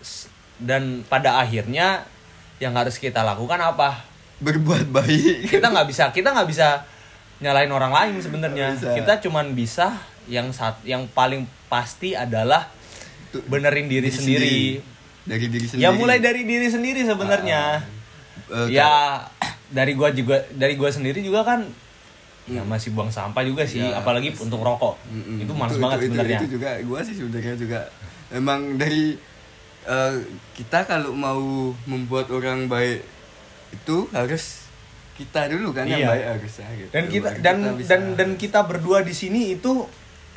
[SPEAKER 3] s- dan pada akhirnya yang harus kita lakukan apa?
[SPEAKER 2] berbuat baik
[SPEAKER 3] kita nggak bisa kita nggak bisa nyalain orang lain sebenarnya
[SPEAKER 2] Nggak bisa.
[SPEAKER 3] kita cuman bisa yang saat yang paling pasti adalah
[SPEAKER 2] Untuk
[SPEAKER 3] benerin diri, sendiri.
[SPEAKER 2] dari diri sendiri
[SPEAKER 3] ya mulai dari diri sendiri sebenarnya
[SPEAKER 2] Eh,
[SPEAKER 3] ya dari gua juga dari gua sendiri juga kan
[SPEAKER 2] Hmm.
[SPEAKER 3] ya masih buang sampah juga sih
[SPEAKER 2] Ya,
[SPEAKER 3] apalagi untuk rokok
[SPEAKER 2] Mm-mm.
[SPEAKER 3] itu males banget
[SPEAKER 2] Hmm, itu-
[SPEAKER 3] sebenarnya
[SPEAKER 2] Itu juga gua sih sebenarnya juga emang dari eh, kita kalau mau membuat orang baik itu harus kita dulu kan yang
[SPEAKER 3] Iya.
[SPEAKER 2] baik harus ya, gitu.
[SPEAKER 3] dan kita
[SPEAKER 2] Baru
[SPEAKER 3] dan
[SPEAKER 2] bisa-
[SPEAKER 3] dan dan kita berdua di sini itu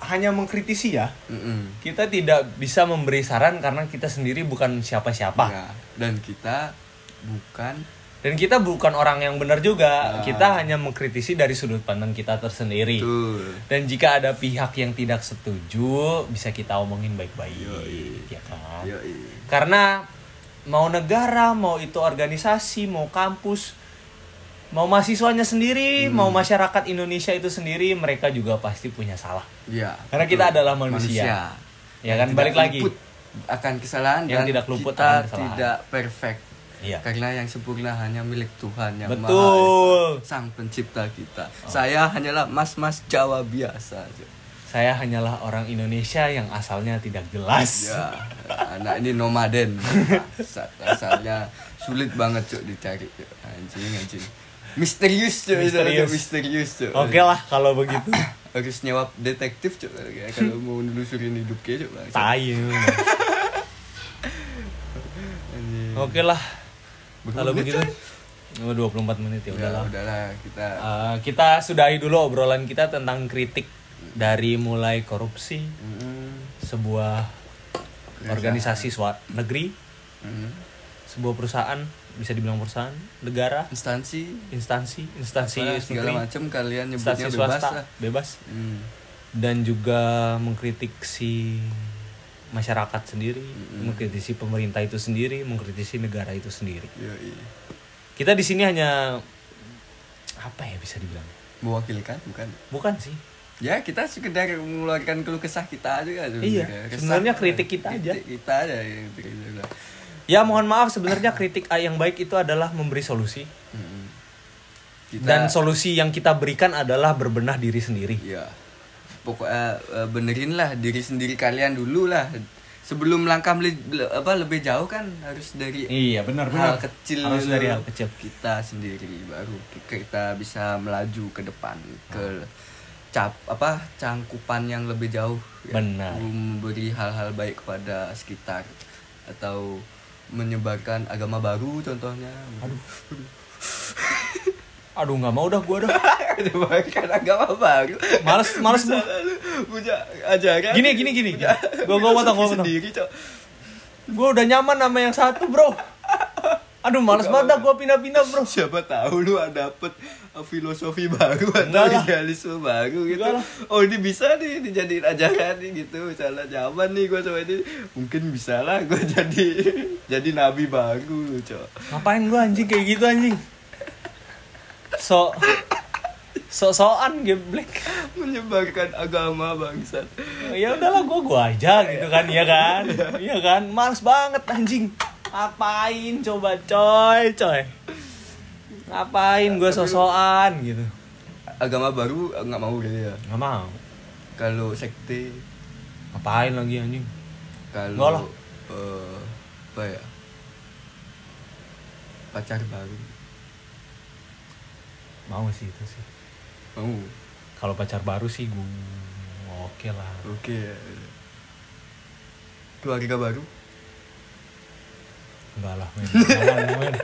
[SPEAKER 3] hanya mengkritisi ya
[SPEAKER 2] Mm-mm.
[SPEAKER 3] kita tidak bisa memberi saran karena kita sendiri bukan siapa-siapa
[SPEAKER 2] Ya, dan kita bukan
[SPEAKER 3] Dan kita bukan orang yang benar juga.
[SPEAKER 2] Nah.
[SPEAKER 3] Kita hanya mengkritisi dari sudut pandang kita tersendiri.
[SPEAKER 2] betul.
[SPEAKER 3] Dan jika ada pihak yang tidak setuju, bisa kita omongin
[SPEAKER 2] Yoi.
[SPEAKER 3] baik-baik, ya kan?
[SPEAKER 2] Yoi.
[SPEAKER 3] Karena mau negara, mau itu organisasi, mau kampus, mau mahasiswanya sendiri,
[SPEAKER 2] Hmm.
[SPEAKER 3] mau masyarakat Indonesia itu sendiri, mereka juga pasti punya salah.
[SPEAKER 2] Ya,
[SPEAKER 3] Karena kita
[SPEAKER 2] betul.
[SPEAKER 3] adalah manusia. Ya
[SPEAKER 2] Yang
[SPEAKER 3] kan?
[SPEAKER 2] tidak
[SPEAKER 3] Balik lagi.
[SPEAKER 2] luput akan kesalahan
[SPEAKER 3] Yang
[SPEAKER 2] dan
[SPEAKER 3] tidak luput
[SPEAKER 2] kita
[SPEAKER 3] akan kesalahan.
[SPEAKER 2] tidak perfect.
[SPEAKER 3] Iya.
[SPEAKER 2] Karena yang sempurna hanya milik Tuhan yang
[SPEAKER 3] Betul.
[SPEAKER 2] Maha Esa, Sang Pencipta kita.
[SPEAKER 3] Oh.
[SPEAKER 2] Saya hanyalah mas-mas Jawa biasa. aja.
[SPEAKER 3] Saya hanyalah orang Indonesia yang asalnya tidak jelas.
[SPEAKER 2] Ya, anak ini nomaden. Bangsat, Asalnya sulit banget cuk dicari cuk. Anjing anjing. Misterius cuk, itu aja,
[SPEAKER 3] Misterius.
[SPEAKER 2] misterius cuk.
[SPEAKER 3] Oke lah kalau begitu.
[SPEAKER 2] Harus nyewa detektif cuk kalau mau nelusurin hidup cuk. bangsat.
[SPEAKER 3] Tayu.
[SPEAKER 2] Anjing.
[SPEAKER 3] Oke lah.
[SPEAKER 2] Berapa
[SPEAKER 3] Kalau
[SPEAKER 2] menit,
[SPEAKER 3] begitu nomor 24 menit ya
[SPEAKER 2] Ya,
[SPEAKER 3] udahlah.
[SPEAKER 2] udahlah kita
[SPEAKER 3] Eh, kita sudahi dulu obrolan kita tentang kritik dari mulai korupsi,
[SPEAKER 2] Mm,
[SPEAKER 3] sebuah organisasi swa- negeri,
[SPEAKER 2] Hmm.
[SPEAKER 3] sebuah perusahaan, bisa dibilang perusahaan, negara,
[SPEAKER 2] instansi
[SPEAKER 3] instansi, instansi
[SPEAKER 2] apalah, segala
[SPEAKER 3] negeri,
[SPEAKER 2] macam kalian
[SPEAKER 3] instansi
[SPEAKER 2] nyebutnya bebas
[SPEAKER 3] swasta,
[SPEAKER 2] lah
[SPEAKER 3] bebas.
[SPEAKER 2] Hmm.
[SPEAKER 3] Dan juga mengkritik si masyarakat sendiri, mengkritisi pemerintah itu sendiri, mengkritisi negara itu sendiri.
[SPEAKER 2] Yoi.
[SPEAKER 3] Kita di sini hanya apa ya bisa dibilang?
[SPEAKER 2] mewakilkan bukan
[SPEAKER 3] Bukan sih.
[SPEAKER 2] ya kita sekedar mengeluarkan keluh kesah kita aja kan eh,
[SPEAKER 3] Iya, sebenarnya kritik kita aja.
[SPEAKER 2] kita aja yang gitu kritik kita bilang.
[SPEAKER 3] Ya mohon maaf sebenarnya kritik A yang baik itu adalah memberi solusi
[SPEAKER 2] Mm-mm. kita
[SPEAKER 3] dan solusi yang kita berikan adalah berbenah diri sendiri.
[SPEAKER 2] ya pokoknya eh, benerin lah diri sendiri kalian dulu lah sebelum langkah meli- le- apa lebih jauh kan harus dari
[SPEAKER 3] Iya benar
[SPEAKER 2] hal kecil
[SPEAKER 3] harus
[SPEAKER 2] dulu.
[SPEAKER 3] dari hal kecil.
[SPEAKER 2] kita sendiri baru kita bisa melaju ke depan
[SPEAKER 3] Ah.
[SPEAKER 2] ke cap apa cangkupan yang lebih jauh ya.
[SPEAKER 3] Benar.
[SPEAKER 2] memberi hal-hal baik kepada sekitar atau menyebarkan agama baru contohnya aduh
[SPEAKER 3] Aduh nggak mau dah gua dah.
[SPEAKER 2] menyebarkan agama baru
[SPEAKER 3] Males males gua.
[SPEAKER 2] Lalu punya ajaran
[SPEAKER 3] Gini gini gini. Gua gua potong gua potong.
[SPEAKER 2] sendiri cok
[SPEAKER 3] Gua udah nyaman sama yang satu bro. Aduh males banget dah gua pindah-pindah bro.
[SPEAKER 2] siapa tahu lu ada dapet eh, filosofi baru atau
[SPEAKER 3] Enggak lah.
[SPEAKER 2] idealisme baru gitu
[SPEAKER 3] Enggak lah.
[SPEAKER 2] oh ini bisa nih dijadiin ajaran nih gitu misalnya zaman nih gue sama ini mungkin bisa lah gue jadi jadi nabi baru cok
[SPEAKER 3] Ngapain gua anjing kayak gitu anjing? So so-soan geblek.
[SPEAKER 2] menyebarkan agama bangsat
[SPEAKER 3] ya udahlah gua gua aja gitu kan ya kan iya kan males banget anjing ngapain coba coy coy ngapain gua sosokan gitu
[SPEAKER 2] agama baru eh, nggak mau gitu ya
[SPEAKER 3] nggak mau
[SPEAKER 2] kalau sekte
[SPEAKER 3] ngapain lagi anjing Nggak lah.
[SPEAKER 2] kalau eh, apa ya pacar baru
[SPEAKER 3] mau sih itu sih
[SPEAKER 2] mau
[SPEAKER 3] kalau pacar baru sih gua oke lah
[SPEAKER 2] oke ya. keluarga baru
[SPEAKER 3] enggak lah men Nggak mau, men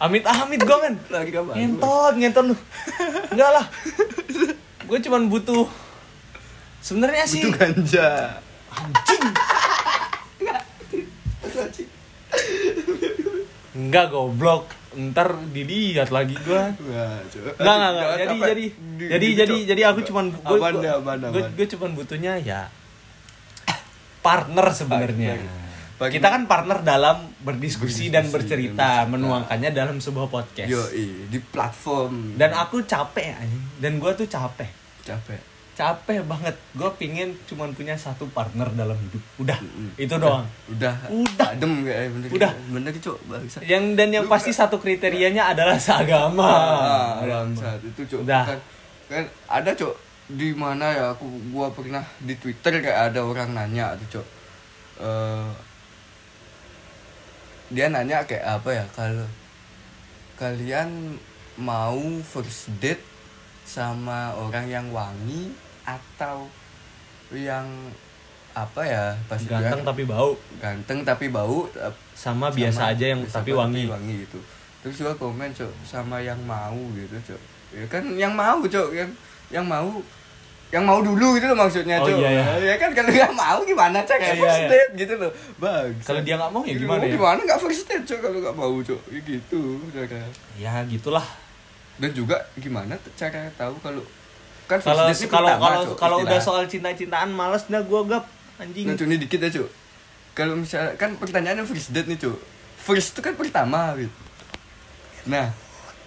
[SPEAKER 3] amit amit gua men
[SPEAKER 2] keluarga baru
[SPEAKER 3] ngentot ngentot lu enggak lah gua cuman butuh sebenarnya sih
[SPEAKER 2] Butuh ganja
[SPEAKER 3] Enggak goblok. Ntar dilihat lagi gua.
[SPEAKER 2] Wah, coba.
[SPEAKER 3] Enggak enggak enggak. Jadi
[SPEAKER 2] Apa-
[SPEAKER 3] jadi
[SPEAKER 2] di-
[SPEAKER 3] jadi
[SPEAKER 2] di-
[SPEAKER 3] jadi
[SPEAKER 2] coba.
[SPEAKER 3] jadi aku cuman gua,
[SPEAKER 2] Apaan
[SPEAKER 3] gua-
[SPEAKER 2] deh, apaan,
[SPEAKER 3] gua-
[SPEAKER 2] apaan?
[SPEAKER 3] gua cuman butuhnya ya partner sebenarnya.
[SPEAKER 2] Partner.
[SPEAKER 3] Kita kan partner dalam berdiskusi dan bercerita,
[SPEAKER 2] bercerita.
[SPEAKER 3] menuangkannya dalam sebuah podcast.
[SPEAKER 2] Yoi, eh, di platform
[SPEAKER 3] Dan aku capek anjing. Dan gua tuh capek.
[SPEAKER 2] capek.
[SPEAKER 3] Capek banget. Gua pingin cuman punya satu partner dalam hidup. Udah,
[SPEAKER 2] Mm-mm.
[SPEAKER 3] itu doang.
[SPEAKER 2] Udah.
[SPEAKER 3] Udah.
[SPEAKER 2] Adem eh, kayaknya bener.
[SPEAKER 3] Udah.
[SPEAKER 2] Bener cok, bangsat.
[SPEAKER 3] Yang dan yang
[SPEAKER 2] Lu
[SPEAKER 3] pasti satu kriterianya adalah seagama.
[SPEAKER 2] Ah, bangsat itu cok.
[SPEAKER 3] Iya. Udah.
[SPEAKER 2] Kan, kan ada cok di mana ya aku gua pernah di Twitter kayak ada orang nanya tuh cok. Eh, dia nanya kayak apa ya kalau kalian mau first date sama orang yang wangi atau yang apa ya pasti
[SPEAKER 3] Ganteng tapi bau.
[SPEAKER 2] ganteng tapi bau eh,
[SPEAKER 3] sama Ah, biasa
[SPEAKER 2] sama-
[SPEAKER 3] aja yang
[SPEAKER 2] biasa
[SPEAKER 3] tapi
[SPEAKER 2] banget,
[SPEAKER 3] wangi.
[SPEAKER 2] wangi gitu terus gua komen cok sama yang mau gitu cok ya kan yang mau cok yang yang mau yang mau dulu gitu loh maksudnya
[SPEAKER 3] Oh,
[SPEAKER 2] cok
[SPEAKER 3] iya,
[SPEAKER 2] ya
[SPEAKER 3] iya.
[SPEAKER 2] kan kalau nggak mau gimana cok
[SPEAKER 3] Iya,
[SPEAKER 2] ya first
[SPEAKER 3] iya.
[SPEAKER 2] date gitu loh bang
[SPEAKER 3] Kalau dia nggak mau ya gimana ya?
[SPEAKER 2] gimana nggak first date cok kalau nggak mau cok Ya gitu cara
[SPEAKER 3] Ya
[SPEAKER 2] iya.
[SPEAKER 3] gitulah.
[SPEAKER 2] dan juga gimana t- cara tahu kalau kan first
[SPEAKER 3] Kalau
[SPEAKER 2] date ini
[SPEAKER 3] kalau
[SPEAKER 2] pertama,
[SPEAKER 3] kalau
[SPEAKER 2] Cok,
[SPEAKER 3] kalau udah
[SPEAKER 2] istilah.
[SPEAKER 3] soal cinta-cintaan males dah gua gap anjing.
[SPEAKER 2] Nah, ini dikit ya, Cuk. Kalau misalnya kan pertanyaannya first date nih, Cuk. First itu kan pertama, Wit. Nah,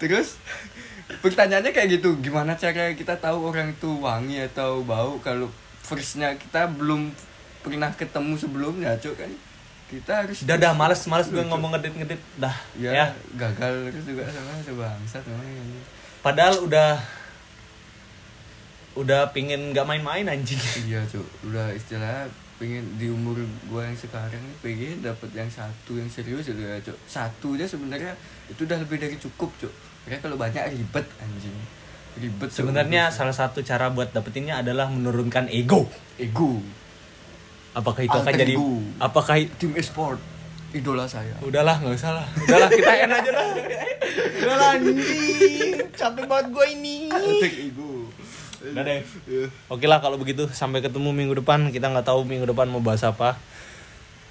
[SPEAKER 2] terus pertanyaannya kayak gitu, gimana cara kita tahu orang itu wangi atau bau kalau firstnya kita belum pernah ketemu sebelumnya, Cuk kan. Kita harus
[SPEAKER 3] Udah dah males males
[SPEAKER 2] Lu,
[SPEAKER 3] gua
[SPEAKER 2] Cuk.
[SPEAKER 3] ngomong ngedit-ngedit dah.
[SPEAKER 2] Ya,
[SPEAKER 3] Ya.
[SPEAKER 2] gagal terus juga sama coba bangsat kan? memang ini.
[SPEAKER 3] Padahal udah udah pingin nggak main-main anjing.
[SPEAKER 2] Iya, Cuk. Udah istilahnya pengen di umur gue yang sekarang nih pengen dapat yang satu yang serius gitu ya cok satu aja sebenarnya itu udah lebih dari cukup cok karena kalau banyak ribet anjing ribet Cuk.
[SPEAKER 3] Sebenarnya salah satu cara buat dapetinnya adalah menurunkan ego.
[SPEAKER 2] ego
[SPEAKER 3] Apakah itu akan
[SPEAKER 2] Alter
[SPEAKER 3] jadi
[SPEAKER 2] ego.
[SPEAKER 3] apakah i-
[SPEAKER 2] tim esport idola saya
[SPEAKER 3] Udahlah, nggak usah lah. Udahlah, kita end aja lah. Udahlah anjing. Capek banget gua ini.
[SPEAKER 2] Alter ego Iya.
[SPEAKER 3] Udah deh. Oke lah kalau begitu sampai ketemu minggu depan kita nggak tahu minggu depan mau bahas apa.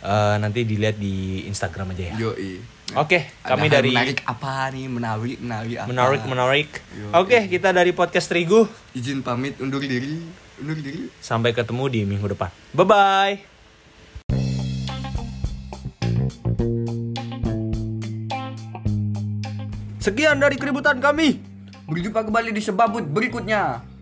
[SPEAKER 3] eh, nanti dilihat di Instagram aja ya.
[SPEAKER 2] Yoi.
[SPEAKER 3] Oke,
[SPEAKER 2] Ada
[SPEAKER 3] kami
[SPEAKER 2] hal
[SPEAKER 3] dari-
[SPEAKER 2] menarik apa nih menarik menarik apa?
[SPEAKER 3] Menarik, menarik.
[SPEAKER 2] Yo.
[SPEAKER 3] Oke, kita dari podcast Terigu.
[SPEAKER 2] Izin pamit undur diri, undur diri.
[SPEAKER 3] Sampai ketemu di minggu depan. Bye bye.
[SPEAKER 1] Sekian dari keributan kami.
[SPEAKER 2] Berjumpa kembali di sebabut berikutnya.